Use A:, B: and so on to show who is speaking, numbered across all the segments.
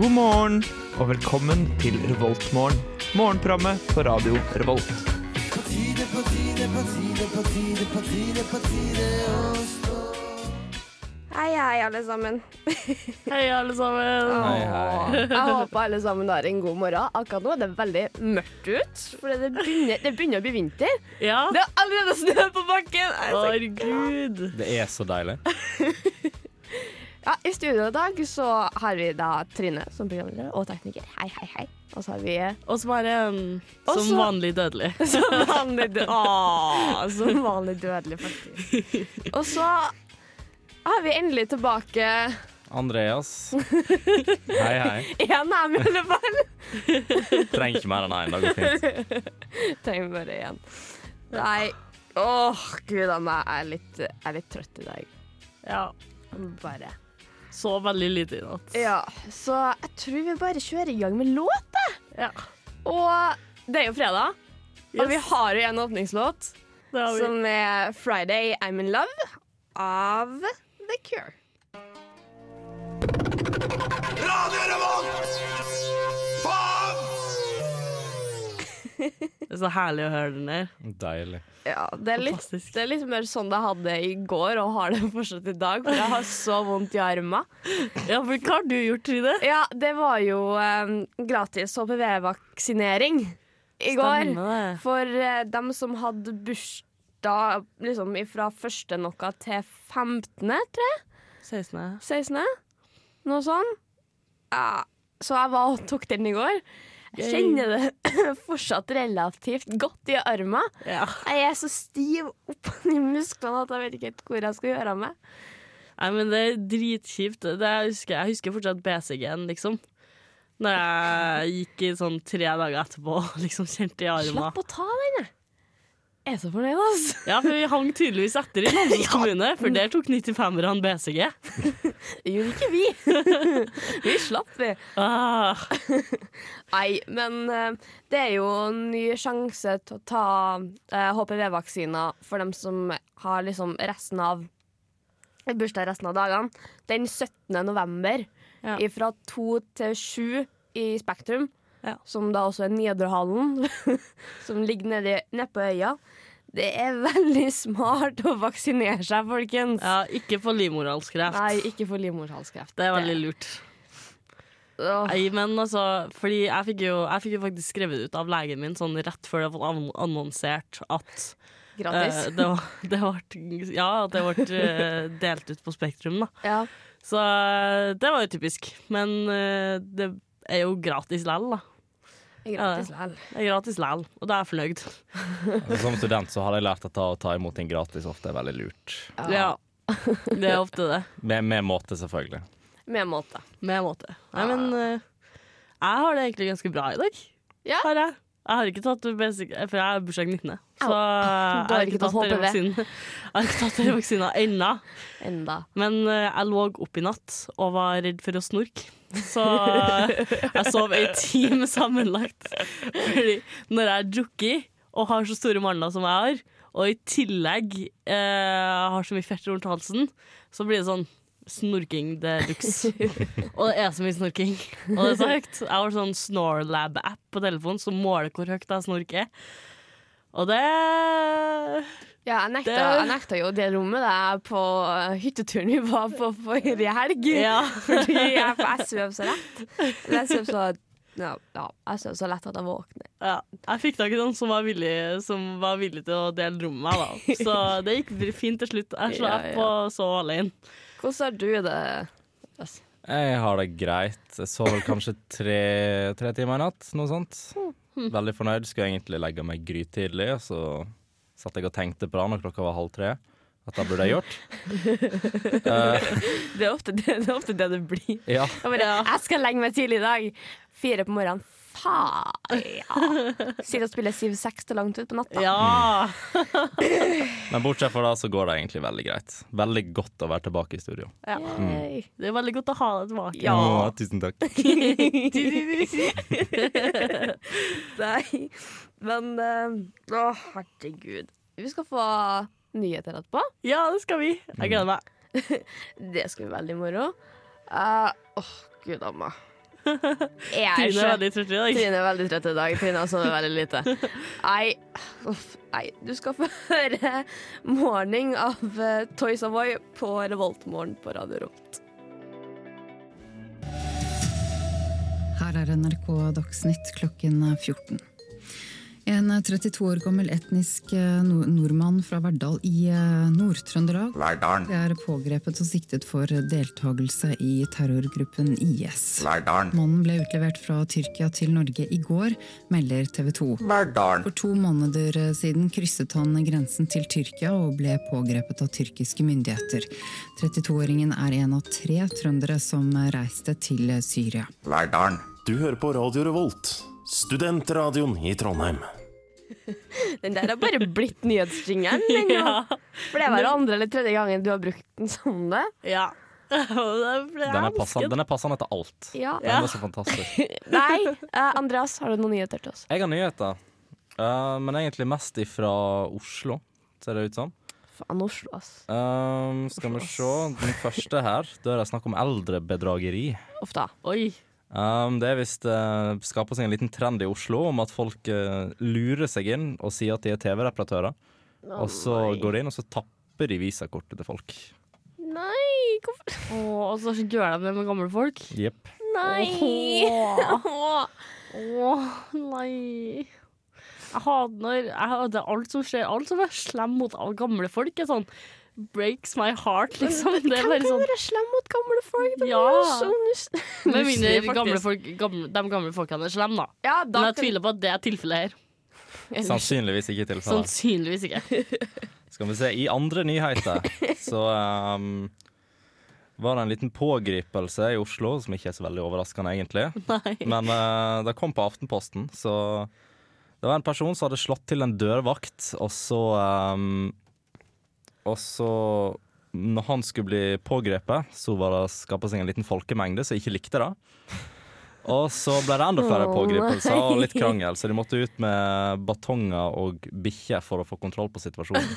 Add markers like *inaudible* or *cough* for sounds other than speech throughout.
A: God morgen og velkommen til Revoltmorgen. Morgenprogrammet på radio Revolt.
B: Hei, hei, alle sammen.
C: Hei, alle sammen.
B: Jeg håper alle sammen har en god morgen. Akkurat nå er det veldig mørkt ut, for det begynner, det begynner å bli vinter.
C: Ja.
B: Det er allerede snø på bakken! Jeg er så-
C: Herregud.
D: Det er så deilig.
B: Ja, I studio i dag så har vi da Trine som programleder og tekniker. Hei, hei, hei. Og så har vi
C: Og så bare um, som
B: Også-
C: vanlig *laughs* dødelig.
B: Som vanlig dødelig. *laughs* som vanlig dødelig, faktisk. Og så har vi endelig tilbake
D: Andreas. Hei, hei.
B: én her, i alle fall.
D: Trenger ikke mer enn én. Det går fint.
B: Trenger bare én. Nei, åh gud a meg, jeg er litt, jeg er litt trøtt i dag.
C: Ja.
B: Bare.
C: Så veldig lite i natt.
B: Ja, så jeg tror vi bare kjører i gang med låt.
C: Ja.
B: Og det er jo fredag, og
C: Yes.
B: vi har jo en åpningslåt
C: Det har vi.
B: som er 'Friday I'm In Love' av The Cure.
C: Det er så herlig å høre den der.
D: Deilig.
B: Ja, det er litt,
C: Fantastisk.
B: det er litt mer sånn jeg hadde i går, og har det fortsatt i dag, for jeg har så vondt i armene.
C: Ja, for hva har du gjort, Trine?
B: Ja, det var jo eh, gratis HPV-vaksinering i går.
C: Stemmer det.
B: For eh, dem som hadde bursdag liksom, fra første noe til 15., tror jeg.
C: 16.
B: 16. Noe sånn. Ja, så jeg var og tok den i går. Jeg
C: Yay.
B: kjenner det *laughs* fortsatt relativt godt i armen.
C: Ja.
B: Jeg er så stiv *laughs* oppå de musklene at jeg vet ikke helt hvor jeg skal gjøre av meg.
C: Nei, men det er dritkjipt. Det er- jeg, husker, jeg husker fortsatt BCG-en, liksom. Når jeg gikk i sånn tre dager etterpå og liksom kjente i armen.
B: Slapp å ta den, jeg. Jeg er så fornøyd, altså.
C: Ja, for vi hang tydeligvis
B: *laughs*
C: etter i Namsos kommune, for der tok 95-erne BCG.
B: Det gjorde ikke vi. *laughs* vi slapp, vi.
C: Ah,
B: Nei, men eh, det er jo en ny sjanse til å ta eh, HPV-vaksiner for dem som har liksom resten av bursdag resten av dagene. Den 17. november
C: Ja.
B: fra to til sju i Spektrum,
C: Ja.
B: som da også er Nederhallen, *laughs* som ligger nede, nede på øya. Det er veldig smart å vaksinere seg, folkens.
C: ja, ikke for livmorhalskreft.
B: Nei, ikke for livmorhalskreft.
C: Det er veldig lurt.
B: Åh.
C: Nei, men altså, fordi jeg fikk, jo, jeg fikk jo faktisk skrevet ut av legen min sånn rett før det var ann- annonsert at
B: Gratis.
C: eh, det var, *laughs* det ble, ja, at det ble eh, delt ut på Spektrum. Da.
B: ja.
C: Så eh, det var jo typisk. Men eh, det er jo gratis lell, da. eh.
B: Gratis likevel.
C: Det er gratis lell, og da er jeg fornøyd.
D: Altså, som student så har jeg lært at å ta imot ting gratis ofte er veldig lurt.
C: Ja. Det er ofte det.
D: Med, med måte, selvfølgelig.
B: Med måte.
C: Med måte. Nei, men eh, jeg har det egentlig ganske bra i dag.
B: Ja.
C: Har jeg. Jeg har ikke tatt basic, for jeg har bursdag 19. Så
B: Au.
C: jeg
B: Du har
C: har
B: ikke
C: ikke
B: tatt
C: tatt dere
B: HPV.
C: vaksinen. *laughs* Jeg har ikke tatt dere vaksinen ennå.
B: Enda.
C: Men eh, jeg lå opp i natt og var redd for å snorke. Så eh, jeg sov ei time sammenlagt. Fordi når jeg drukker og har så store mandler som jeg har, og i tillegg eh, har så mye fett rundt halsen, så blir det sånn snorking de luxe. og det er så mye snorking. Og det er så høyt. Jeg har sånn Snorlab-app på telefonen som måler hvor høyt jeg snorker. Og det
B: Ja, jeg nekta,
C: Det-
B: jeg nekta jo det rommet der på eh, hytteturen vi var på forrige helg.
C: Ja.
B: *laughs* Fordi jeg, for jeg sov så lett. Eller Jeg sov så, ja, ja, jeg sov så lett at jeg våkner.
C: Ja, jeg fikk tak i noen som var villig, som var villig til å dele rom med meg, da.
B: *laughs*
C: Så det gikk fint til slutt. Jeg
B: Ja,
C: slapp
B: ja.
C: og sov alene.
B: Hvordan har du det? Jøss.
D: Jeg har det greit. Jeg sov vel kanskje tre, tre timer i natt, noe sånt. Veldig fornøyd. Skulle egentlig legge meg grytidlig, og så satt jeg og tenkte på det når klokka var halv tre. At det burde jeg gjort. Eh,
B: Det er ofte det det, er ofte det, det blir.
D: ja.
B: Jeg, bare, jeg skal legge meg tidlig i dag. Fire på morgenen. Faen, ja. *laughs* Sitter og spiller 7-6 til langt ut på natta.
C: Ja!
D: Men bortsett fra det så går det egentlig veldig greit. Veldig godt å være tilbake i studio.
C: ja.
B: Yay.
C: Det er veldig godt å ha deg tilbake.
D: Å, tusen takk.
C: *laughs*
B: Nei, men eh, Å, herregud. Vi skal få nyheter etterpå.
C: Ja, det skal vi. Jeg gleder meg. *laughs*
B: Det skal bli veldig moro. Eh, Åh, gud a meg. Jeg er
C: Trine er
B: ikke-
C: veldig trøtt i dag.
B: Trine er veldig trøtt i dag. Trine har sovet veldig lite. Nei, uff, nei, du skal få *laughs* høre 'Morning' av eh, Toy Savoy på Revoltmorgen på Radio Rom.
E: Her er NRK Dagsnytt klokken 14. En 32 år gammel etnisk eh, nor- nordmann fra Verdal i eh, Nord-Trøndelag
F: Verdalen,
E: er pågrepet og siktet for deltakelse i terrorgruppen IS.
F: Verdalen,
E: Mannen ble utlevert fra Tyrkia til Norge i går, melder TV 2.
F: Verdalen,
E: For to måneder siden krysset han grensen til Tyrkia og ble pågrepet av tyrkiske myndigheter. 32-åringen er en av tre trøndere som reiste til Syria.
F: Verdalen,
G: Du hører på Radio Revolt, studentradioen i Trondheim.
B: Den der har bare blitt nyhetsjingeren.
C: *laughs*
B: den nå.
C: Ja.
B: For det var andre eller tredje gangen du har brukt den sånn. det.
C: ja. *laughs* Den
D: Den er passende, den er passende til alt.
B: Ja.
D: Den var så fantastisk.
B: Nei, eh, Andreas, har du noen nyheter til oss?
D: *laughs* Jeg har nyheter, eh, men egentlig mest ifra Oslo, ser det ut som.
B: Faen, Oslo, ass.
D: Ehm, skal vi se. Den første her, da er det snakk om eldrebedrageri.
B: Uff da.
C: Oi.
D: Um, det er visst uh, skaper seg en liten trend i Oslo om at folk eh, lurer seg inn og sier at de er TV-reparatører. og så går de inn og så tapper de visakortet til folk.
B: Nei, hvorfor
C: Åh, og så gjør de det med gamle folk.
D: Jepp.
B: Nei! Åh.
C: Åh, nei. Jeg hater jeg hater alt som skjer. Alt som er slem mot alle gamle folk, er sånn breaks my heart, liksom. Det er
B: Hvem
C: bare
B: kan
C: sånn
B: være slem mot gamle folk? Det
C: Ja.
B: var så *laughs* nus-
C: Med mindre
B: nusselig,
C: gamle
B: faktisk.
C: folk, gamle, de gamle folkene er slemme, da.
B: Ja, da
C: Men jeg
B: kan-
C: tviler på at det er tilfellet her.
D: Sannsynligvis ikke tilfellet.
C: Sannsynligvis ikke.
D: Skal vi se. I andre nyheter så ehm, var det en liten pågripelse i Oslo, som ikke er så veldig overraskende, egentlig.
C: Nei.
D: Men eh, det kom på Aftenposten, så Det var en person som hadde slått til en dørvakt, og så ehm, Og så når han skulle bli pågrepet, så var det skapa seg en liten folkemengde som ikke likte det. Og så ble det enda flere
B: Å,
D: pågripelser og litt
B: nei.
D: krangel, så de måtte ut med batonger og bikkjer for å få kontroll på situasjonen.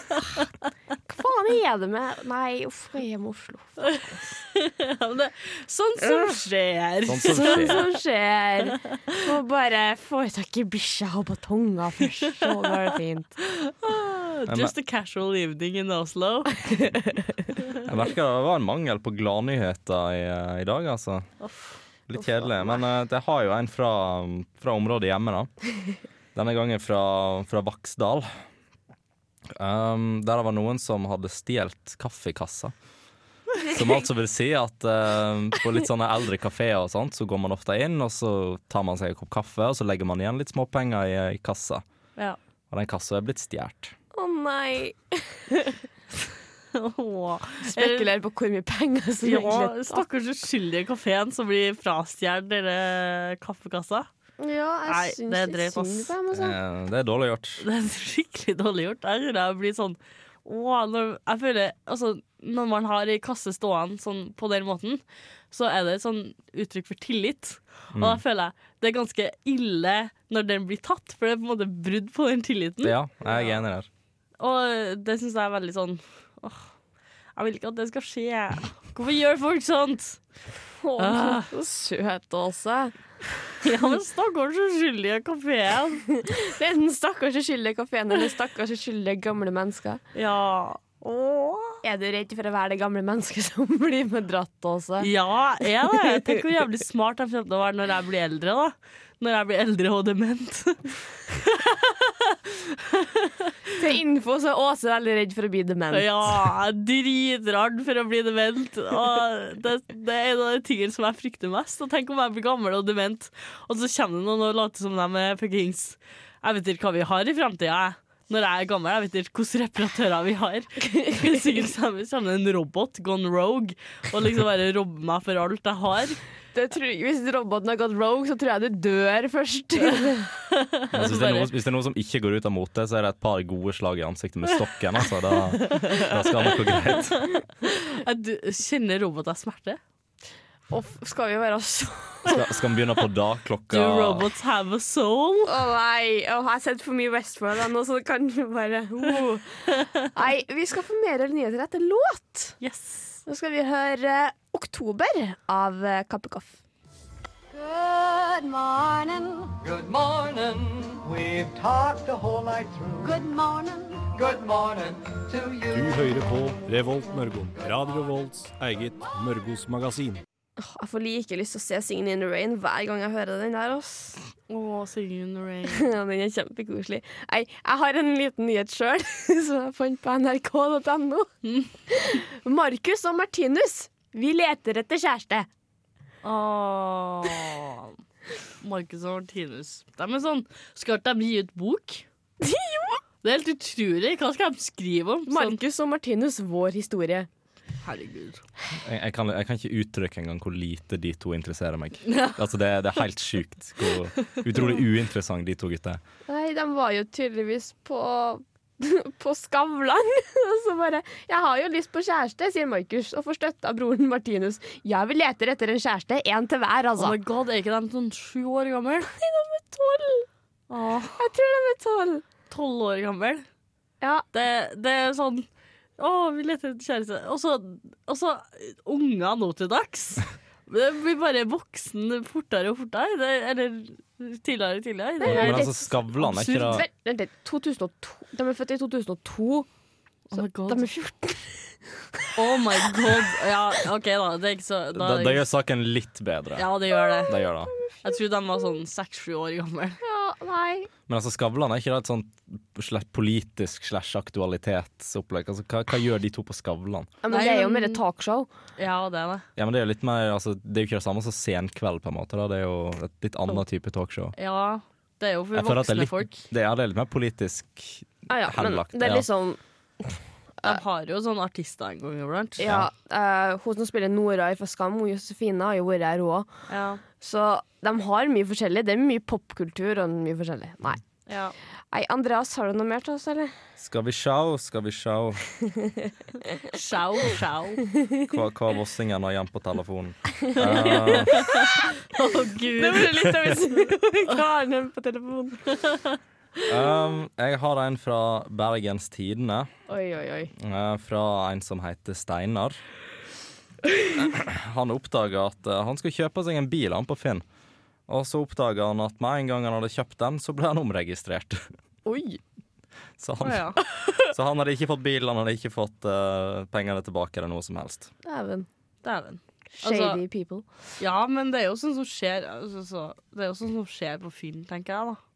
B: Hva faen er det med Nei, uff, jeg er hjemme i *laughs* Oslo.
C: Ja, men det, sånt Sånn som skjer.
D: Sånn
B: *laughs*
D: som
B: Sånn
D: skjer.
B: som skjer. Må bare få tak i bikkja og batonga først, så går det fint.
C: Just a casual evening in Oslo.
D: Jeg merker det var en mangel på gladnyheter i, i dag, altså. Litt kjedelig. Men eh, jeg har jo en fra, fra området hjemme, da. Denne gangen fra, fra Vaksdal. Um, der det var noen som hadde stjålet kaffekassa. Som altså vil si at eh, på litt sånne eldre kafeer og sånt, så går man ofte inn, og så tar man seg en kopp kaffe, og så legger man igjen litt småpenger i, i kassa.
C: Ja.
D: Og den kassa er blitt stjålet.
B: *laughs* Å nei.
C: Åh.
B: Spekulerer på hvor mye penger som
C: Ja,
B: egentlig
C: stakkars uskyldige kafeen som blir frastjålet denne kaffekassa.
B: Ja,
C: Nei,
B: jeg syns
C: det er
B: litt
C: drøyt, ass.
B: synd på dem. Altså.
D: Eh, det er dårlig gjort.
C: *laughs* Det er skikkelig dårlig gjort. Jeg tror jeg blir sånn Åh, når, jeg føler, altså, når man har ei kasse stående sånn, på den måten, så er det et sånn uttrykk for tillit. Og da føler jeg det er ganske ille når den blir tatt, for det er på en måte brudd på den tilliten.
D: Ja, jeg er enig der.
C: Og det syns jeg er veldig sånn åh, Jeg vil ikke at det skal skje. Hvorfor gjør folk sånt?
B: Å,
C: Ah.
B: Så søt, Åse.
C: *laughs* Ja, men stakkars uskyldige kafeen.
B: Det er den stakkars uskyldige kafeen og den stakkars uskyldige gamle mennesker.
C: Ja. Åh.
B: Er du redd for å være det gamle mennesket som *laughs* blir bedratt også?
C: Ja, jeg er det. Tenk hvor jævlig smart jeg kommer til å være når jeg blir eldre. da Når jeg blir eldre og dement.
B: Til info så er Åse veldig redd for å bli dement.
C: Ja, jeg er dritredd for å bli dement. Og det, det er en av de tingene som jeg frykter mest. Og tenk om jeg blir gammel og dement, og så kommer det noen og later som de er fuckings Jeg vet ikke hva vi har i framtida, jeg. Når jeg er gammel, jeg vet ikke hvilke reparatører vi har. Sikkert kommer kommer det en robot gone rogue og liksom bare robber meg for alt jeg har.
B: Det tror, hvis roboten har gått rogue, så tror jeg du dør først.
D: Men altså, hvis, det er
C: Bare-
D: noe, hvis det er noe som ikke går ut av mote, så er det et par gode slag i ansiktet med stokken. Altså. Da, da skal det gå greit.
C: Jeg d- kjenner roboter smerte.
B: *laughs* Og f- skal vi være så
D: Skal, skal vi begynne på da
C: Do
D: klokka
C: robots have a soul?
B: Å nei, Å, jeg har sett for mye Westworld ennå, så det kan jo bare oh. Nei, vi skal få mer nyheter etter låt.
C: Yes.
B: Nå skal vi høre 'Oktober' av eh, Kappekoff.
F: Good morning.
H: Good morning. We've talked the whole night through.
F: Good morning.
H: Good morning to you.
I: Du hører på Revolt Mørgo. Radio Revolts eget Mørgos magasin.
B: Åh, Jeg får like lyst til å se Singin' in the Rain hver gang jeg hører den der. ass. *laughs*
C: Å, singing in the rain.
B: Ja, Den er kjempekoselig. Nei, jeg har en liten nyhet sjøl, *laughs* som jeg fant på nrk.no. *laughs* Markus og Martinus, vi leter etter kjæreste.
C: *laughs* Åh. Marcus og Martinus. De er sånn Skal ikke de gi ut *laughs* bok? Det er helt utrolig. Hva skal de skrive om? Sånn,
B: Markus og Martinus, vår historie.
C: herregud.
D: Jeg, jeg, kan, jeg kan ikke uttrykke engang hvor lite de to interesserer meg.
C: *laughs*
D: Altså Det, det er helt sjukt hvor utrolig uinteressant de to gutta er.
B: Nei, de var jo tydeligvis på *laughs* på Skavlan. *laughs* Og så bare 'Jeg har jo lyst på kjæreste', sier Markus, og får støtte av broren Martinus. 'Ja, vi leter etter en kjæreste. Én til hver,
C: Oh
B: altså'.
C: my god, er ikke de sånn sju år gamle?
B: Tolv!
C: Åh,
B: Jeg tror de er tolv.
C: Tolv år gammel.
B: Ja.
C: Det, det er sånn Å, vi leter etter kjæreste. Og så, og så unger nå til dags. Det blir bare voksen fortere og fortere. Det, eller tidligere og tidligere. Det
D: Men
C: er,
D: altså Skavlan er ikke det
B: Vent vent litt. 2002. De er født i 2002.
C: oh my god.
B: De er 14.
C: Oh my god. Ja, OK, da. Det er ikke så da,
D: Da, da gjør saken litt bedre.
C: Ja, det gjør det.
D: Det gjør det.
C: Jeg tror de var sånn seks-sju år gamle.
B: Ja, nei.
D: Men altså Skavlan er ikke det et sånt slash politisk slash aktualitetsopplegg? Altså, hva, hva gjør de to på Skavlan?
B: Ja, men
C: Nei,
B: det er jo
C: men-
B: mer et talkshow.
C: Ja, det er det.
D: Ja, men Det er jo litt mer, altså, det er jo ikke det samme som Senkveld, på en måte. Da. Det er jo et litt annet type talkshow.
C: Ja, det er jo for
D: Jeg føler at det er
C: voksne
D: litt-
C: folk.
D: Det, ja, det er litt mer politisk.
B: Ja, ja, men
D: Henlagt,
B: det er
D: ja.
B: liksom
C: De har jo sånne artister en gang iblant.
B: Ja, eh, hun som spiller Nora fra Skam, hun Josefine, har jo vært her hun òg.
C: Ja.
B: Så de har mye forskjellig. Det er mye popkultur og mye forskjellig. Nei.
C: Ja.
B: Nei, Andreas, har du noe mer til oss, eller?
D: Skal vi sjau, skal vi sjau.
C: Sjau, sjau.
D: Hva, hva vossingen har igjen på
C: *laughs*
D: telefonen. Eh,
C: Å, gud. Det ble litt av en på telefonen.
D: um, jeg har en fra Bergens Tidende.
B: Oi, oi, oi.
D: Eh, fra en som heter Steinar. Han oppdaga at eh, han skulle kjøpe seg en bil han på Finn. Og så oppdaga han at med en gang han hadde kjøpt den, så ble han omregistrert. *laughs*
B: Oi.
D: Så
C: Å,
D: han,
C: ja.
D: så han hadde ikke fått bil, han hadde ikke fått eh, pengene tilbake eller noe som helst.
B: Dæven.
C: Dæven.
B: Shady
C: Altså-
B: people.
C: Ja, men det er jo sånn som skjer altså, så, Det er jo sånn som skjer på Finn, tenker jeg, da.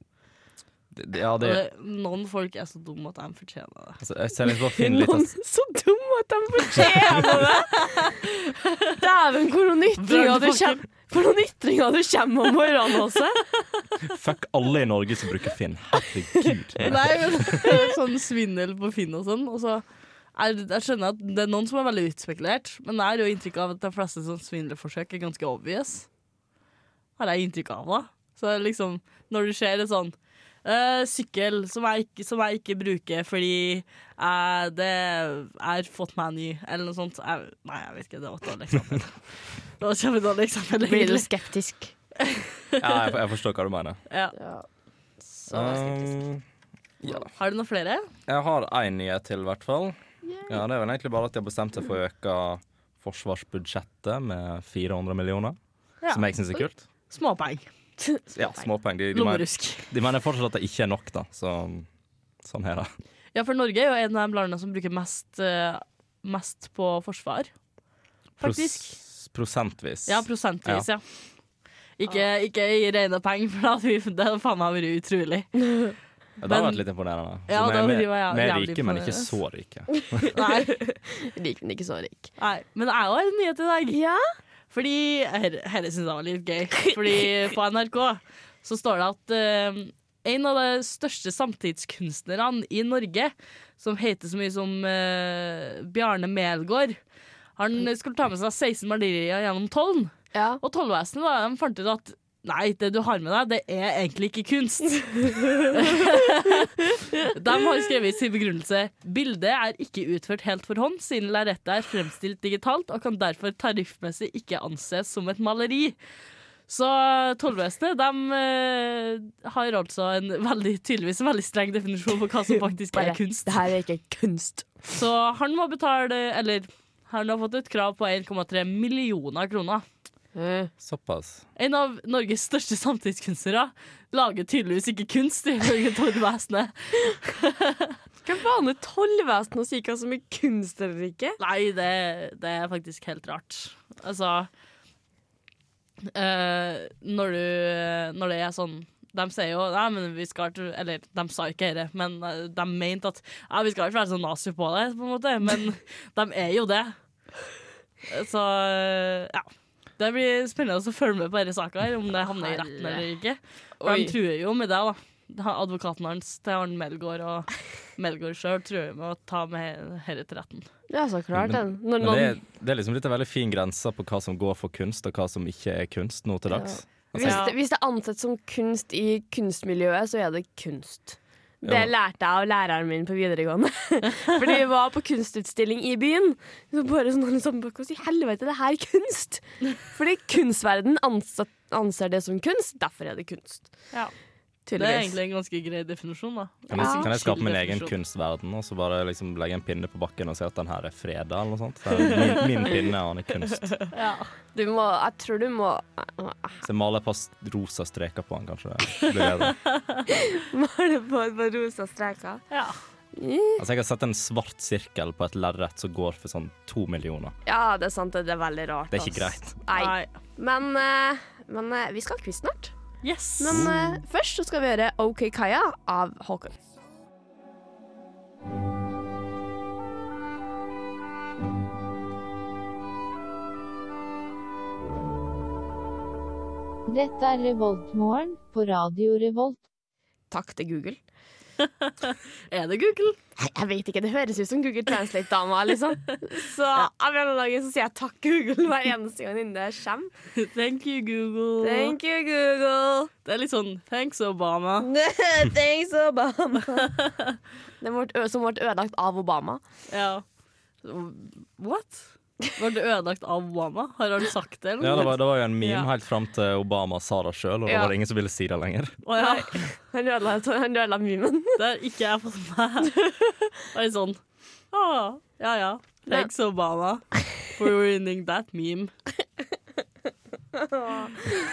D: Det- det- Ja,
C: Og
D: det,
C: det- Noen folk er så dumme at de fortjener det.
D: altså, jeg ser liksom på Finn litt
B: Noen
D: at-
B: er så dumme at de fortjener det! Dæven, hvor noen ytringer du
C: Brannfakkel.
B: kommer For noen ytringer du kommer om morgenen også!
D: Fuck alle i Norge som bruker Finn.
C: *laughs*
D: Herregud.
C: Nei, men det er *laughs* sånn svindel på Finn og sånn. Og så er, jeg skjønner at det er noen som er veldig utspekulert, men jeg har jo inntrykk av at de fleste sånn svindelforsøk er ganske obvious. Har jeg inntrykk av, da. Så det er liksom, når du ser det sånn «Øh, sykkel som jeg, ikke, som jeg ikke bruker fordi jeg- det, jeg har fått meg en ny, eller noe sånt. Jeg, nei, jeg vet ikke. Det var et dårlig *laughs* eksempel. Det var et kjempedårlig
B: *laughs*
C: eksempel.
B: Blir du
C: egentlig.
B: skeptisk?
D: Ja, jeg, jeg forstår hva du mener.
C: Ja.
D: Um,
C: Har du noen flere?
D: Jeg har én nyhet til, i hvert fall. Ja, det er vel egentlig bare at de har bestemt seg for å øke forsvarsbudsjettet med 400 millioner.
C: Ja.
D: Som jeg syns er kult.
C: *laughs* Småpeng.
D: Ja, småpenger. De, de, mener-
C: Lommerusk.
D: de mener fortsatt at det ikke er nok, da. Så sånn er det.
C: Ja, for Norge er jo en av de landene som bruker mest, eh, mest på forsvar. Faktisk.
D: Pros- prosentvis.
C: Ja, prosentvis, ja. Ikke, ikke i rene penger, *laughs* for da hadde vi, det hadde faen meg vært utrolig.
D: Ja, det har
C: men-
D: vært litt imponerende. Så
C: Ja,
D: vi
C: det
D: er
C: hadde
D: mer-
C: vært jæv-
D: mer
C: jævlig
D: rike, men ikke
C: imponerende.
D: så rike.
C: Nei,
B: Rik, men ikke så rik.
C: nei. Men jeg har en nyhet i dag.
B: Ja?
C: Fordi her- Herre syns jeg var litt gøy. Fordi på NRK så står det at eh, en av de største samtidskunstnerne i Norge, som heter så mye som eh, Bjarne Melgaard, han skulle ta med seg 16 malerier gjennom tollen.
B: ja.
C: Og tollvesenet da, de fant ut at nei, det du har med deg, det er egentlig ikke
B: *laughs*
C: kunst. de har skrevet i sin begrunnelse bildet er ikke utført helt for hånd, siden lerretet er fremstilt digitalt og kan derfor tariffmessig ikke anses som et maleri. Så tollvesenet de eh, har altså en veldig, tydeligvis en veldig streng definisjon på
B: *laughs*
C: hva som faktisk er
B: Bare,
C: kunst.
B: Det her er ikke kunst.
C: Så han må betale, eller han har fått et krav på 1,3 millioner kroner.
B: Eh.
D: Såpass.
C: En av Norges største samtidskunstnere lager tydeligvis ikke kunst, ifølge Tord Væsne.
B: Hva faen er tollvesenet å si hva som er kunst eller ikke?
C: Nei, det, det er faktisk helt rart. Altså eh, når, du, når det er sånn De sier jo Nei, men vi skal ikke Eller de sa ikke dette, men eh, de mente at ja, vi skal ikke være så nazi på det, på en måte. Men de er jo det. Så eh, ja. Det blir spennende å følge med på denne saka, om det havner i retten eller ikke. For
B: Oi.
C: de truer jo med det, da. Han- Advokaten hans til han Melgaard og Melgaard sjøl truer jo med å ta med dette til retten.
B: Ja, så klart. den. Når
D: Men det
B: noen
D: er, det er liksom litt en veldig fin grense på hva som går for kunst, og hva som ikke er kunst nå til dags.
B: Hvis, det, hvis det er ansett som kunst i kunstmiljøet, så er det kunst. Det
D: Ja.
B: lærte jeg av læreren min på videregående. *laughs* Fordi vi var på kunstutstilling i byen. Så bare sånn alle sammen bak oss i helvete, det her er kunst! Fordi kunstverden anser, anser det som kunst, derfor er det kunst.
C: Ja. Det er
B: Tydeligvis.
C: egentlig en ganske grei definisjon, da.
D: Kan jeg,
C: Ja.
D: kan jeg skape min egen
C: Kildefunksjon.
D: kunstverden og så bare liksom legge en pinne på bakken og si at den her er freda, eller noe sånt? Det er min, min pinne, og den er kunst.
B: Du må, jeg tror du må
D: Så jeg maler et par s- rosa streker på den, kanskje. Det blir bedre.
B: male på et par rosa streker.
C: Ja.
D: Altså, jeg har sett en svart sirkel på et lerret som går for sånn to millioner.
B: Ja, det er sant. Det er veldig rart.
D: Det er ikke
B: ass.
D: greit.
B: Nei.
C: Nei.
B: Men, eh, men eh, vi skal ha quiz snart.
C: Yes.
B: Men
D: Oh.
B: eh, først så skal vi høre OK Kaja av Håkon.
J: Dette er Revoltmorgen på Radio Revolt.
B: Takk til *laughs* Google.
C: er det Google?
B: Nei, jeg vet ikke, det høres ut som Google Translate-dama, liksom. Så av en eller annen dag så sier jeg takk Google hver eneste gang innen det kommer.
C: *laughs* Thank you, Google.
B: Thank you, Google.
C: Det er litt sånn thanks, Obama.
B: *laughs* Thanks, *laughs* Obama. Den ble, ø- som ble ødelagt av Obama.
C: Ja. What? Var det ødelagt av Obama? Har han sagt det, eller?
D: Ja, det var, det var jo en meme
C: Ja.
D: helt fram til Obama sa det sjøl, og da
B: Ja.
D: var det ingen som ville si det lenger.
C: Å, ja.
B: Han ødela, han ødela memen.
C: *laughs*
B: *laughs*
C: Det har ikke jeg fått med meg. Det var litt sånn ah, Ja ja. Thanks, Obama, for ruining that
B: *laughs*
C: meme. Ja,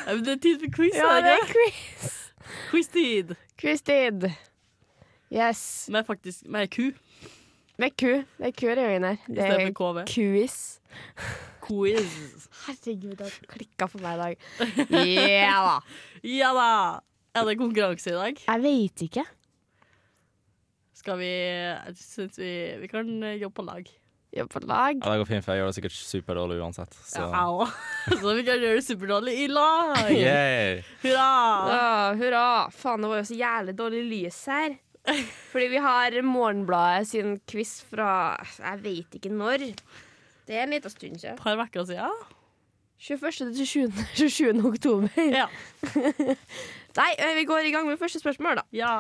C: men Det er tid for quiz.
B: Ja,
C: er
B: det
C: det
B: er
C: ikke?
B: quiz.
C: Quiz-tid
B: Quiz-tid. Yes.
C: med faktisk med ku
B: Med ku. Det er ku i gangen her. Det er
C: istedenfor KV.
B: quiz.
C: Quiz.
B: Herregud, det har klikka for meg i *laughs* dag. Ja da.
C: Ja da! Er det konkurranse i dag?
B: Jeg veit ikke.
C: Skal vi Jeg syns vi, vi kan jobbe på lag.
B: Jobb på lag.
D: Ja, det går fint, for jeg gjør det sikkert superdårlig uansett. Så.
C: Ja, au. *laughs* Så vi kan gjøre det superdårlig i lag!
D: Yay.
C: Hurra!
B: Å, hurra! Faen, det var jo så jævlig dårlig lys
C: *laughs*
B: her. Fordi vi har Morgenbladet sin quiz fra jeg veit ikke når. Det er en liten stund siden.
C: Et par uker siden.
B: 21. til *laughs* 27. 27. oktober.
C: Ja.
B: *laughs* Nei, ø, vi går i gang med første spørsmål, da.
C: ja.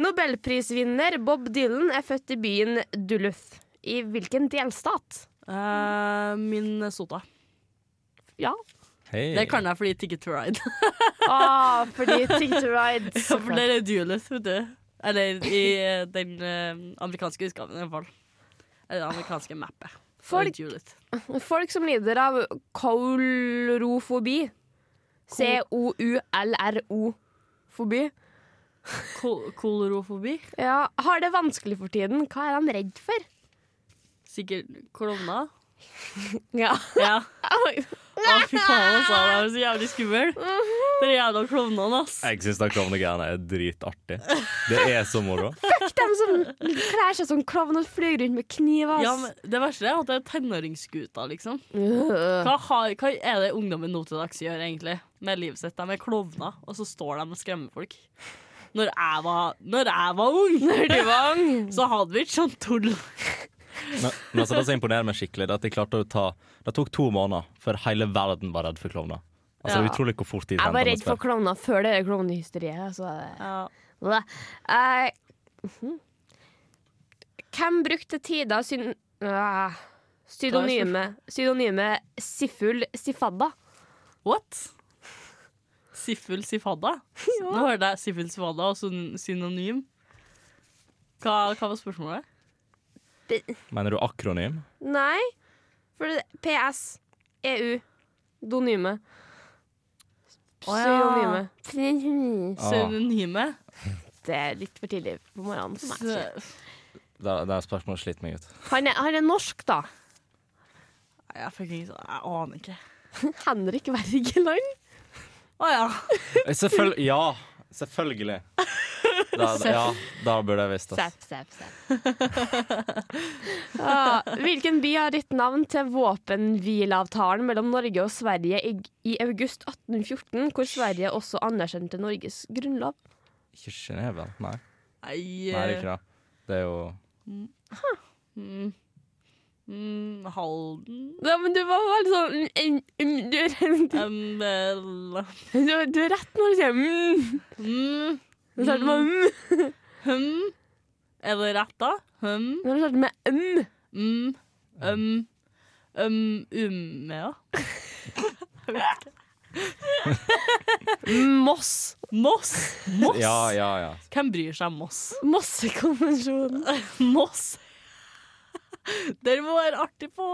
B: Nobelprisvinner Bob Dylan er født i byen Duluth. I hvilken delstat?
C: Eh, Minnesota.
B: Ja. *laughs*
D: Hei.
C: Det kan jeg fordi Ticket to Ride. *laughs*
B: Ah, fordi Tick to Ride.
C: Ja, For det er Dueleth, vet du. Eller i eh, den eh, amerikanske utgaven, i hvert fall. Eller det amerikanske mappet.
B: Folk
C: Dueleth.
B: Folk som lider av kolrofobi. C-o-u-l-r-o-fobi.
C: Kol kolorofobi.
B: Ja, har det vanskelig for tiden. Hva er de redd for?
C: Sikkert klovner.
B: Ja.
C: Ja. Å, fy faen, altså. Det er jo så jævlig skummel. Dere jævla klovnene, ass.
D: Jeg syns de klovnegreiene er dritartig. Det er så moro.
B: De som kler seg som klovn og flyr rundt med kniv. ass.
C: Ja, men det verste er at det er tenåringsgutter, liksom.
B: Øh.
C: Hva, har, hva er det ungdommen nå til dags gjør, egentlig, med livet sitt? De er klovner, og så står de og skremmer folk. Når jeg var, *laughs* når jeg var ung, så hadde vi ikke sånn tull.
D: Men, men altså, det som imponerer meg skikkelig, det er at de klarte å ta Det tok to måneder før hele verden var redd for klovner. Altså, det
B: Ja.
D: er Utrolig hvor fort de
B: Jeg var
D: trendene
B: redd for
D: sprer.
B: klovner før det der klovnehysteriet. Så det.
C: Ja.
B: Blæ. Eh, mhm. Hvem brukte tida syn... Ah, pseudonyme, pseudonyme Siful Sifadda?
C: What? Siffel sifadda? Nå hørte jeg siffel sifadda og syn- synonym. Hva, hva var spørsmålet?
D: Mener du akronym?
B: Nei. For det, PS, EU, E donyme. Synonyme.
C: Synonyme.
B: Det er litt for tidlig på morgenen for meg. tror jeg.
C: Så-
D: Det det er spørsmålet sliter meg ut.
B: Han er, han er norsk, da.
C: Nei, Jeg fucking jeg aner ikke.
B: *laughs* Henrik Wergeland.
C: Å ja.
D: *laughs* Eh, Selvføl ja, selvfølgelig.
B: *laughs*
D: Da, da, ja, da burde jeg visst det. ass.
B: Sepp, sepp, sepp. *laughs* Ah, Hvilken by har gitt navn til våpenhvileavtalen mellom Norge og Sverige i, i august 1814, hvor Sverige også anerkjente Norges grunnlov?
D: Ikke Genéve? Nei.
C: Nei,
D: Nei, det er
C: eh,
D: ikke det. Det er jo
C: mm, Halden
B: Ja, men du var veldig sånn mm, mm, mm, du, er-
C: um, vel,
B: du, er- du er rett når du sier mm.
C: mm,
B: Når du starter med mm,
C: hm. Er det rett, da? Hm,
B: mm. når du starter med mm.
C: mm, um, um,
D: *laughs*
C: Umeå?
B: Moss.
C: Mm, Moss! Moss!
D: Ja, ja, ja.
C: Hvem bryr seg om Moss?
B: Mossekonvensjonen.
C: Moss. Dere må være artig på,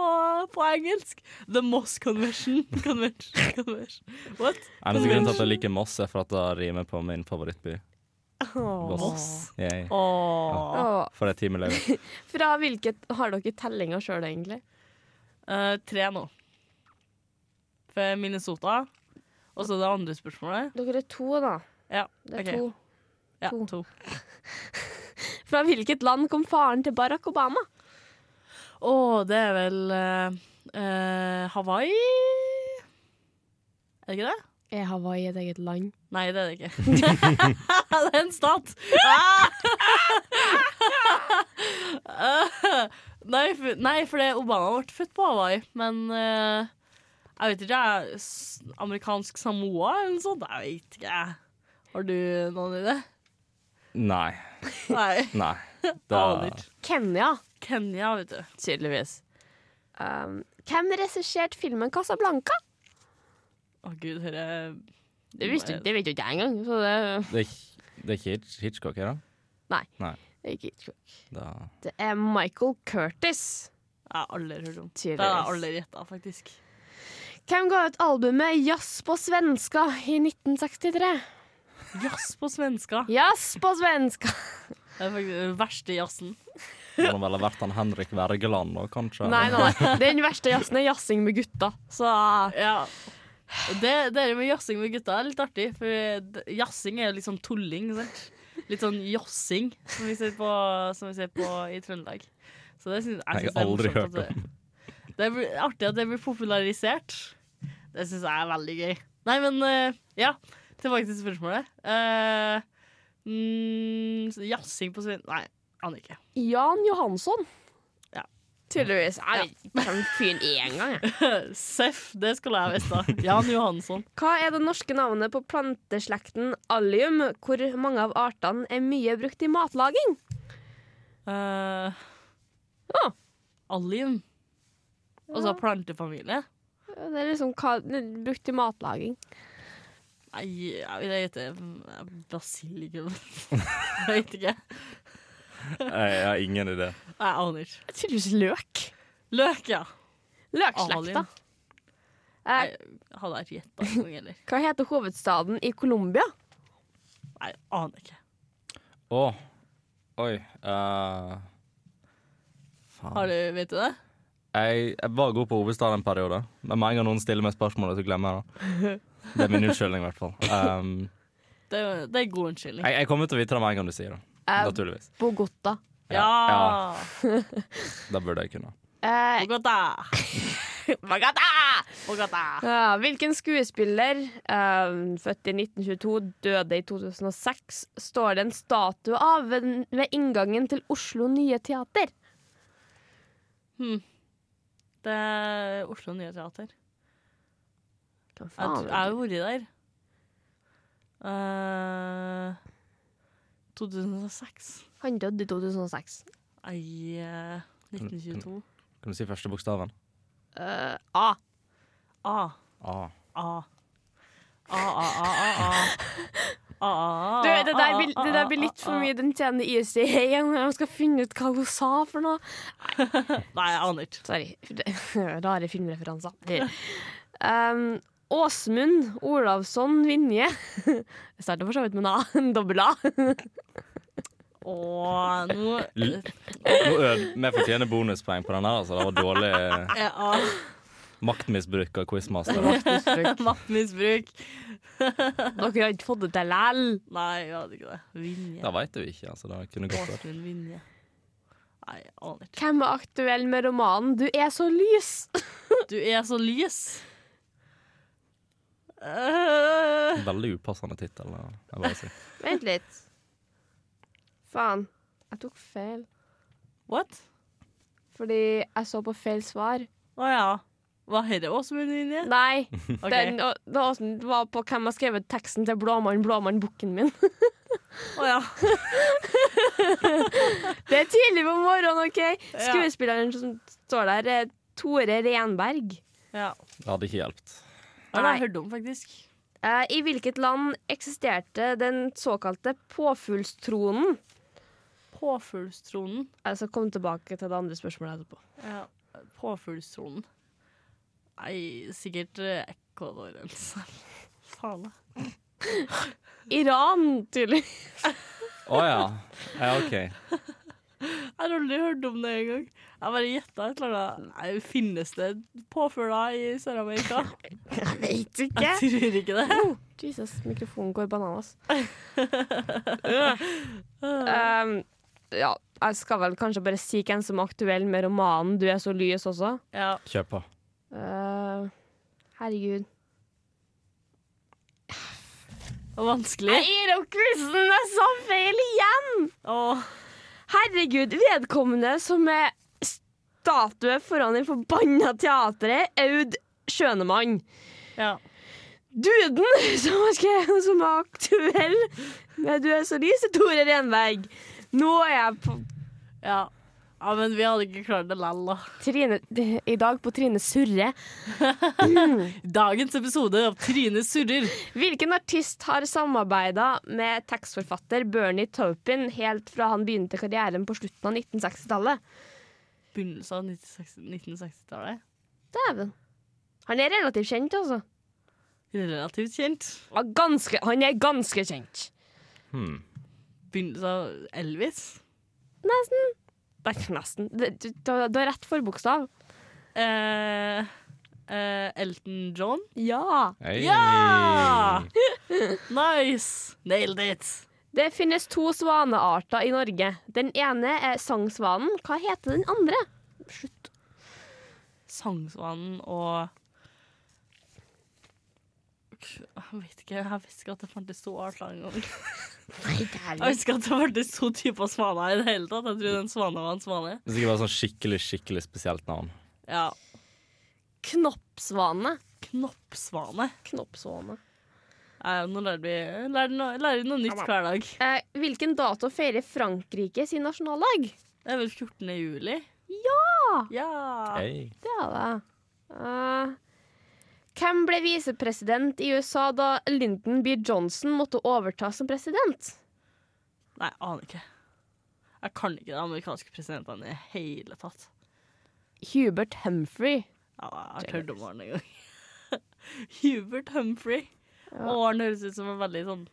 C: på engelsk. The Moss Convention. Convention. Convention. What?
D: Eneste grunn til at jeg liker Moss, er for at det rimer på min favorittby.
C: Moss.
D: Yay.
C: Åh.
B: Åh.
D: For et
B: *laughs*
D: timeliv.
B: Fra hvilket har dere tellinga sjøl, egentlig?
C: Eh, tre nå. For Minnesota. Og så det andre spørsmålet.
B: Dere er to, da.
C: Ja,
B: Det er
C: ok.
B: to.
C: Ja,
B: to.
C: to.
B: Fra hvilket land kom faren til Barack Obama?
C: Å, det er vel eh, eh, Hawaii? Er det ikke det?
B: Er Hawaii et eget land?
C: Nei, det er det ikke. *laughs* det er en stat! *laughs* Ah! nei, for, nei, for det Obama ble født på Hawaii, men eh, jeg vet ikke. Jeg, s- amerikansk Samoa eller noe sånt? Jeg vet ikke. Har du noen idé?
D: Nei.
C: Nei.
D: Nei. Da,
C: Aner ikke.
B: Kenya,
C: Kenya, vet du.
B: tydeligvis. Um, hvem regisserte filmen Casablanca?
C: Å gud, hører jeg
B: Det visste det vet jo ikke jeg engang. Så det,
D: det, er, ikke- det er ikke Hitch- Hitchcock, er det?
B: det, er ikke,
D: Da.
B: det er Michael Curtis.
C: Jeg har aldri hørt om. Det har jeg
B: Tydeligvis.
C: aldri gjetta, faktisk.
B: Hvem ga ut albumet Jazz på svenska i 1963?
C: Jazz på svenska.
B: Jazz på svenska!
C: Det er faktisk den verste jazzen.
D: Det må vel ha vært han Henrik Wergeland nå, kanskje?
B: Nei, nei, nei. Den verste jazzen er jazzing med gutta. Så
C: Ja. Det, det der med jazzing med gutta er litt artig, for d- jazzing er jo litt sånn tulling. Sant? Litt sånn jossing, som vi ser på, som vi ser på i Trøndelag. Så det syns jeg
D: Jeg
C: synes
D: har aldri
C: det er morsomt
D: hørt
C: at det, det er artig at det blir popularisert. Det syns jeg er veldig gøy. Nei, men eh, ja, tilbake til spørsmålet. Eh, mm, så jazzing på svin... Nei, aner ikke.
B: Jan Johansson.
C: Ja.
B: Tydeligvis. Jeg vet ikke hvem fyren er engang. jeg.
C: Eh, Seff, det skulle jeg visst da. Jan Johansson.
B: Hva er det norske navnet på planteslekten allium, hvor mange av artene er mye brukt i matlaging?
C: Uh,
B: Ah.
C: Allium. Altså plantefamilie.
B: Det er liksom hva, det er brukt i matlaging.
C: Nei, jeg vil gjette mm, basilikum. *laughs* jeg vet ikke.
D: Jeg, jeg har ingen idé.
C: Jeg aner ikke.
B: Tydeligvis løk.
C: Løk, ja.
B: Løkslekta.
C: Allium.
B: Eh,
C: Jeg hadde jeg ikke gjetta engang heller.
B: hva heter hovedstaden i Colombia?
C: Nei, jeg aner ikke.
D: Å. Oi. eh, faen.
C: Har du, vet du det?
D: Jeg, jeg var god på hovedstad en periode, men med en gang noen stiller meg spørsmålet, så glemmer jeg det. Det er min unnskyldning, i hvert fall. Um,
C: Det, er- det er god unnskyldning.
D: jeg, jeg kommer til å vite det med en gang du sier det.
B: Eh,
D: Naturligvis.
B: Bogota.
C: Ja!
D: ja. Da burde jeg kunne.
B: Eh,
C: Bogata! *laughs* Bogata! Bogata!
B: Ja, hvilken skuespiller, eh, født i 1922, døde i 2006, står det en statue av ved, ved inngangen til Oslo Nye Teater?
C: Det er Oslo Nye Teater.
B: Hva
C: Jeg
B: faen
C: tr- jeg har jo vært der. Eh, 2006.
B: Han døde i 2006.
C: Nei, eh, 1922.
D: Kan du si første bokstaven?
B: Eh, ah,
C: A.
D: Ah.
C: A. A, A, A, A, A. A, A, A,
B: du, det, der blir,
C: A, A,
B: det der blir
C: ah,
B: litt for mye den tjenende IC *laughs* igjen. Jeg skal finne ut hva hun sa for noe.
C: Nei, jeg aner ikke.
B: *laughs* Sorry. Rare filmreferanser. Um, Åsmund Olavsson Vinje. *laughs* Jeg starter for så vidt med en A. En dobbel A. *laughs*
C: Åh, nå
D: L- Nå ød- Vi fortjener bonuspoeng på den her, altså. Det var dårlig
C: *laughs* Ja,
D: maktmisbruk av quizmaster.
C: Mattmisbruk.
B: Dere har ikke fått det til likevel.
C: Nei, jeg hadde ikke det. Vinje.
D: Det veit vi ikke, altså. Det kunne godt vært.
C: Åsmund Vinje. Nei, jeg aner ikke.
B: Hvem er aktuell med romanen 'Du er så lys'? *laughs*
C: Du er så lys. Eh,
D: Veldig upassende tittel. da, jeg bare sier.
B: Vent litt. Faen. Jeg tok feil.
C: what?
B: Fordi jeg så på feil svar.
C: Å ja. Var dette Åsmund Vinje?
B: Nei.
C: Ok.
B: Den, og, det var sånn- det var på hvem har skrevet teksten til 'Blåmann, blåmann, bukken min'. *laughs*
C: Å ja.
B: Det er tidlig på morgenen, OK? Skuespilleren som står der, er Tore Renberg.
C: ja.
D: Det hadde ikke hjulpet.
C: Det har
B: Nei.
C: jeg hørt om, faktisk.
B: Eh, I hvilket land eksisterte den såkalte påfuglstronen?
C: Påfuglstronen.
B: Jeg skal komme tilbake til det andre spørsmålet etterpå.
C: Ja. Påfuglstronen. Nei, sikkert eh, Ecuador eller noe sånt. *laughs* Faen, da.
B: Iran, tydelig.
D: Å ja. ja. OK.
C: Jeg har aldri hørt om det engang. Jeg bare gjetta et eller annet. Nei, finnes det påfugler i Sør-Amerika?
B: *laughs* Jeg vet
C: Jeg tror ikke det.
B: Jesus, mikrofonen går bananas. um, ja, jeg skal vel kanskje bare si hvem som er aktuell med romanen 'Du er så lys' også.
C: Ja.
D: Kjør på.
B: Eh, herregud.
C: Det var vanskelig.
B: Jeg gir opp quizen! Jeg sa feil igjen!
C: Åh,
B: Herregud, vedkommende som er statue foran det forbanna teatret, Aud Skjønemann.
C: ja.
B: Duden som er, skrevet, som er aktuell med 'Du er så lys', er Tore Renberg. Nå er jeg på
C: ja. Ja, men vi hadde ikke klart det lell, da.
B: Trine, I dag på Trine Surre.
C: Dagens episode av Trine surrer.
B: Hvilken artist har samarbeida med tekstforfatter Bernie Taupin helt fra han begynte karrieren på slutten av 1960-tallet?
C: Begynnelsen av 96 1960-tallet.
B: Dæven. Han er relativt kjent, altså.
C: Relativt kjent.
B: Ja, Ganske, han er ganske kjent.
D: Hmm.
C: Begynnelsen av Elvis.
B: Nesten. Det er ikke nesten. Det- Du du- du har rett forbokstav.
C: Eh, eh, Elton John.
B: Ja.
D: Hey.
C: Ja! Nice! Nailed it!
B: Det finnes to svanearter i Norge. Den ene er sangsvanen. Hva heter den andre?
C: Slutt. Sangsvanen og Jeg vet ikke, jeg visste ikke at det fantes to arter engang. Jeg visste ikke at det fantes to typer svaner i det hele tatt. Jeg trodde en svane var en svane.
D: Det er sikkert bare sånn skikkelig, skikkelig spesielt navn.
C: Ja.
B: Knoppsvane.
C: Knoppsvane.
B: Knoppsvane.
C: Nei, nå lærer vi lærer, no- lærer vi noe nytt hver dag.
B: Eh, hvilken dato feirer Frankrike sin nasjonaldag?
C: Det er vel 14. juli? Ja!
D: Hey.
B: Det er det. Eh, hvem ble visepresident i USA da Lyndon B. Johnson måtte overta som president?
C: Nei, jeg aner ikke. Jeg kan ikke de amerikanske presidentene i det hele tatt.
B: Hubert Humphrey.
C: Ja, jeg har hørt om Arne en gang. *laughs* Hubert Humphrey. Og Arne høres ut som en veldig sånn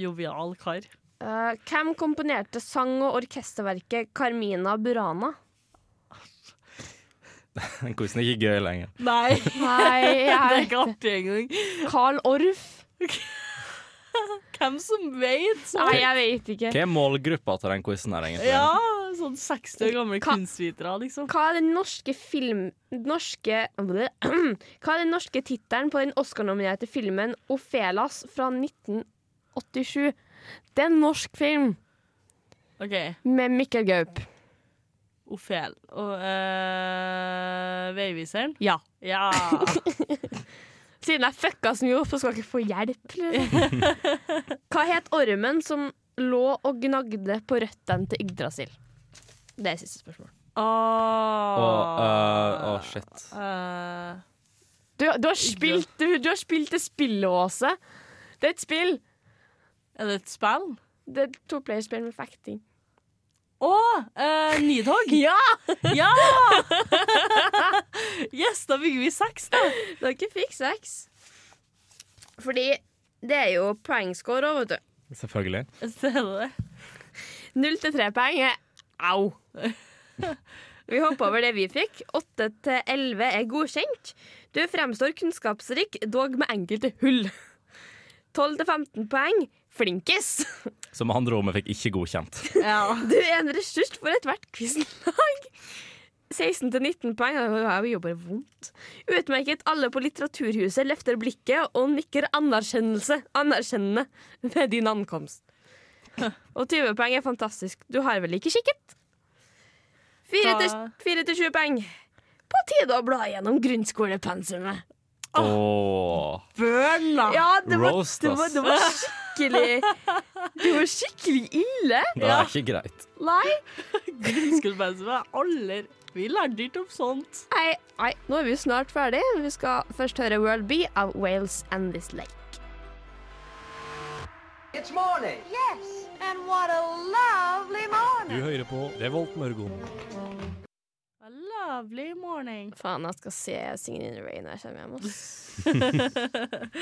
C: jovial kar.
B: Eh, hvem komponerte sang- og orkesterverket Carmina Burana?
D: Den quizen er ikke gøy lenger.
C: Nei,
B: *laughs* Nei,
C: *laughs* det er
B: jeg
C: ikke artig engang.
B: Carl Orff.
C: Hvem som vet? Så.
B: Nei, jeg vet ikke.
D: Hva er målgruppa til den quizen her, egentlig?
C: Ja, sånn 60 år gamle
B: Ka-
C: kunstvitere, liksom.
B: Hva er den norske film... Norske *clears throat* Hva er den norske tittelen på den Oscar-nominerte filmen 'Ofelas' fra 1987? Det er en norsk film
C: OK,
B: med Mikkel Gaup.
C: Ofel og øh, Veiviseren.
B: Ja.
C: Ja.
B: Siden jeg fucka så mye opp, så skal jeg ikke få hjelp. liksom. *laughs* Hva het ormen som lå og gnagde på røttene til Yggdrasil? *laughs* Det er siste spørsmål.
C: Åh Ah.
D: Å, øh, å, shit.
C: øh,
B: Du, du, har, spilt, du, du har spilt det spillet, Åse. Det er et spill.
C: er det et spill?
B: Det er et toplayerspill med fekting.
C: Å! øh, Nidhogg!
B: Ja!
C: Ja! *laughs* yes, da bygger vi seks, da.
B: Dere fikk sex. Fordi det er jo poengscore òg, vet du.
D: Selvfølgelig.
C: Ser du det?
B: Null til tre poeng er au. Vi hopper over det vi fikk. Åtte til elleve er godkjent. Du fremstår kunnskapsrik, dog med enkelte hull. Tolv til 15 poeng flinkis.
D: Så med andre ord, vi fikk ikke godkjent.
C: Ja.
B: Du er en ressurs for ethvert quizlag. 16 til 19 poeng. Det er jo bare vondt. Utmerket. Alle på Litteraturhuset løfter blikket og nikker anerkjennelse anerkjennende ved din ankomst. Og 20 poeng er fantastisk. Du har vel ikke kikket? 4 til,
C: Da-
B: 4 til 20 poeng. På tide å bla gjennom grunnskolepensumet.
D: Åh,
C: Burn, da!
B: Ja, det var,
D: Ah, roast,
B: det var,
D: ass.
B: det var skikkelig Det var skikkelig ille.
D: Det er ikke greit.
B: Nei.
C: Grunnskolepensumet er aller Vi lærte ikke om sånt.
B: Nei, nei, nå er vi jo snart ferdig. Vi skal først høre World Bee av Wales and This Lake.
H: It's morning.
F: Yes, and what a lovely
I: Du
F: morning.
I: hører på Revolt Mørgon.
C: A lovely morning.
B: Faen, jeg skal se Singing in the Rain når jeg kommer hjem. ass.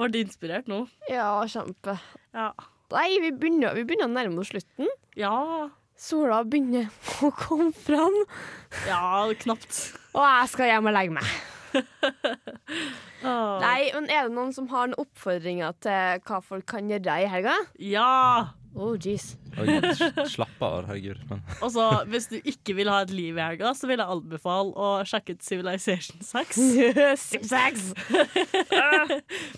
C: Ble inspirert nå.
B: Ja, kjempe.
C: Ja.
B: Nei, vi begynner, vi begynner å nærme oss slutten.
C: Ja.
B: Sola begynner *laughs* å komme fram,
C: Ja, knapt.
B: og jeg skal hjem og legge meg.
C: Åh.
B: Nei, men Er det noen som har noen oppfordringer til hva folk kan gjøre i helga?
C: Ja!
B: Oh, *laughs* jeez.
D: Oi, s- slapp av, herregud. Men
C: Og så, Altså, hvis du ikke vil ha et liv i helga, så vil jeg anbefale å sjekke ut Civilization 6.
B: Zigzags!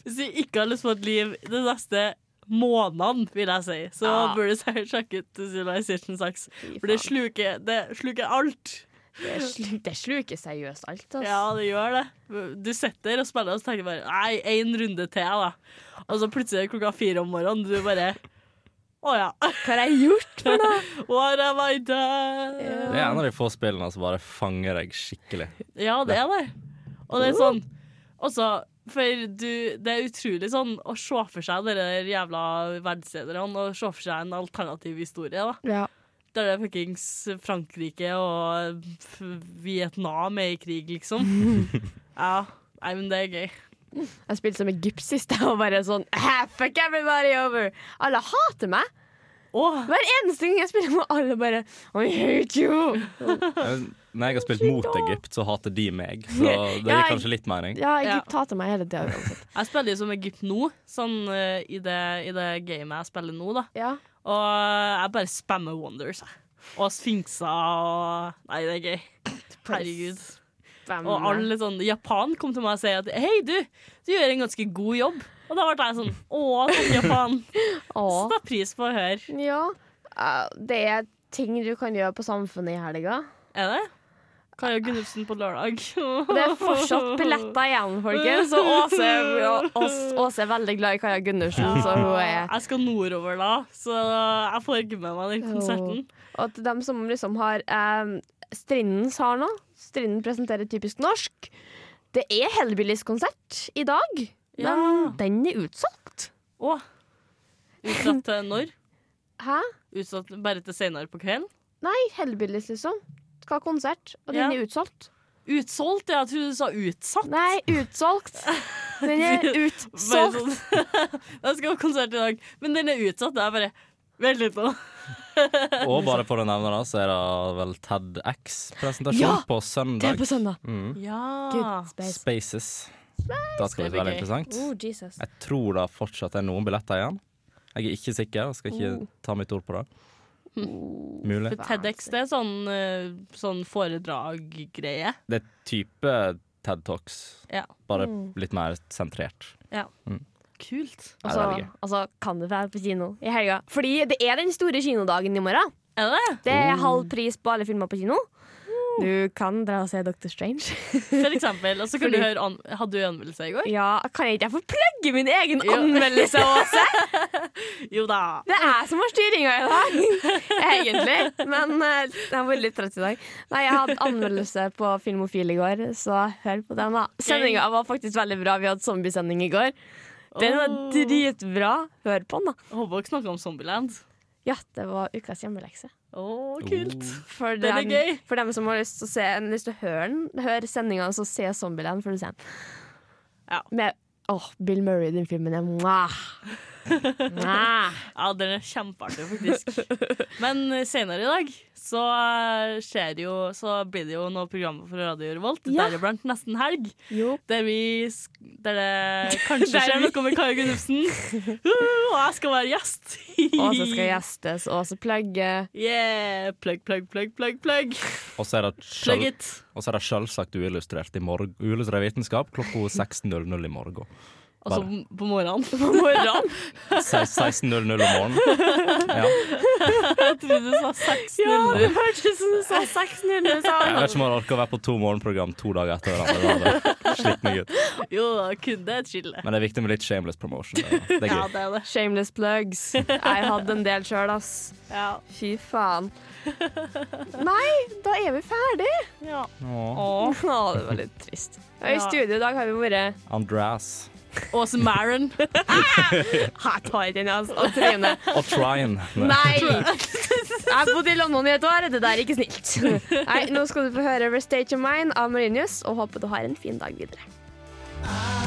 C: Hvis du ikke har lyst på et liv de neste månedene, vil jeg si, så
B: Ja.
C: burde du sikkert sjekke ut Civilization 6. For det sluker, det sluker alt.
B: Det slu- det sluker seriøst alt, altså.
C: Ja, det gjør det. Du sitter og spiller og så tenker du bare Nei, én runde til, da. Og så plutselig er det klokka fire om morgenen, du bare Å ja. *laughs*
B: Hva har jeg gjort for noe?
C: What have I done?
D: det er en av de få spillene som bare fanger deg skikkelig.
C: Ja, det er det. Og det er sånn Også, for du, det er utrolig sånn å se for seg de der jævla verdenslederne og se for seg en alternativ historie, da.
B: *laughs* Ja.
C: Der det er fuckings Frankrike og f- Vietnam er i krig, liksom. Ja. Nei, men det er gøy.
B: Jeg spilte som Egypt sist jeg var bare sånn "Ah, Fuck everybody over! Alle hater meg!
C: Åh,
B: Hver eneste gang jeg spiller med alle bare I hate you!
D: Men Når jeg har spilt mot Egypt, så hater de meg. Så det
B: Ja,
D: gir kanskje litt mening.
B: Ja, Egypt hater meg hele tida uansett.
C: jeg spiller jo som Egypt nå, sånn eh, i det, i det gamet jeg spiller nå, da.
B: Ja.
C: Og jeg bare spammer Wonders, jeg. Og sfinkser og Nei, det er gøy. Herregud. Og alle sånn Japan kom til meg og sa at Hei, du, du gjør en ganske god jobb. Og da ble jeg sånn Å, takk, Japan.
B: Åh.
C: Sett pris på å høre.
B: Ja. Eh, Det er ting du kan gjøre på Samfunnet i helga.
C: Er det? Kaja Gunnufsen på lørdag.
B: *laughs* Det er fortsatt
C: *laughs*
B: billetter igjen, folkens. Og Åse, og Ås- Åse er veldig glad i Kaja Gundersen, så hun er
C: Jeg skal nordover da, så jeg får ikke med meg den konserten.
B: Og til dem som liksom har eh, Strindens har nå. Strinden presenterer typisk norsk. Det er Hellbillies konsert i dag,
C: Ja.
B: men den er utsolgt.
C: Å. Utsatt til når?
B: Hæ?
C: Utsatt bare til senere på kvelden?
B: Nei, Hellbillies, liksom. Skal ha konsert, og den
C: Ja.
B: er utsolgt.
C: Utsolgt? Jeg trodde du sa utsatt.
B: Nei, utsolgt. Den *laughs* er
C: *laughs* Bare
B: utsolgt.
C: sånn *laughs* Jeg skal ha konsert i dag, men den er utsatt. Jeg bare Vent litt nå.
D: Og bare for å nevne det, så er det vel TEDX-presentasjon
B: Ja!
D: på
B: Det er
D: søndag. Mm,
B: på søndag.
C: Ja.
B: Gud, space.
D: Spaces. Da skal det
C: Det blir
D: bli veldig
C: gøy.
D: interessant.
B: Oh, Jesus.
D: Jeg tror det fortsatt er noen billetter igjen. Jeg er ikke sikker, jeg skal
B: Oh.
D: ikke ta mitt ord på det. Mulig.
C: For TEDx det er sånn, eh, sånn foredrag-greie.
D: Det er type TED Talks,
C: Ja.
D: bare
B: Mm.
D: litt mer sentrert.
C: Kult.
D: Nei,
B: Og så
D: det er veldig gøy.
B: altså, kan du være på kino i helga. Fordi det er den store kinodagen i morgen.
C: Er det det?
B: Det er
D: Oh.
B: halv pris på alle filmer på kino. Du kan dra og se Doctor Strange.
C: For eksempel. Og så kan
B: Fordi-
C: du høre an Hadde du anmeldelse i går?
B: Ja, kan jeg ikke jeg få plugge min egen
C: Jo.
B: anmeldelse, Åse?
C: Jo da.
B: Det er jeg som har styringa i dag, *laughs* egentlig. Men eh, jeg har vært litt trøtt i dag. Nei, jeg hadde anmeldelse på Filmofil i går, så hør på den, da. Sendinga var faktisk veldig bra. Vi hadde zombiesending i går. Den var
C: Åh.
B: dritbra. Hør på den, da.
C: Jeg håper dere snakker om Zombieland.
B: Ja, det var ukas hjemmelekse.
C: Å, kult.
B: For
C: Den er
B: dem,
C: gøy.
B: for dem som har lyst til å, se, lyst til å høre, den, hør sendinga, så se Zombieland før du ser den.
C: Ja.
B: Med Åh, Bill Murray i den filmen er mwah. Mwah.
C: Ja, den er kjempeartig, faktisk. Men eh, senere i dag så eh, skjer det jo Så blir det jo noe program for Radio Revolt,
B: Ja.
C: deriblant Nesten helg,
B: Jo.
C: der vi sk- Der det kanskje
B: Der
C: skjer
B: vi-
C: noe med Kaja Gunnufsen. Uh, Og jeg skal være gjest.
B: Og så *laughs* skal gjestes, og så plugge.
C: Yeah! Plugg, plugg, plugg, plugg, plugg.
D: Og så er det sjøl-
C: Plugg it.
D: og så er det selvsagt uillustrert i morgen. Uillustrert vitenskap klokka 16.00 i morgen.
C: Altså
D: Bare.
C: på morgenen. På morgenen?
D: 16.00 om morgenen.
B: *laughs*
D: Ja.
C: *laughs* Jeg trodde du sa 16
B: Ja,
C: under.
B: det hørtes ut som du sa
D: Jeg
B: 600
D: vet
B: sammen.
D: ikke om jeg orker å være på to morgenprogram to dager etter hverandre. Det hadde slitt meg ut.
C: Jo da, kun det er chille.
D: Men det er viktig med litt shameless promotion. Det det er
C: Ja,
D: gøy.
C: det er det.
B: Shameless plugs. Jeg hadde en del sjøl, ass.
C: Ja.
B: Fy *laughs* faen. Nei, da er vi ferdig.
C: ja.
D: Åh,
C: Og
B: Å, det var litt trist. Og I
C: Ja.
B: studio i dag har vi vært
D: Andreas.
C: Åse Maron.
B: Her tar jeg den, altså. Og Trine.
D: Og Trine.
B: *laughs* Nei! Jeg bodde i London i et år. Det der er ikke snilt. *laughs* Nei, Nå skal du få høre 'Restage of Mine' av Marinius, og håper du har en fin dag videre.
F: I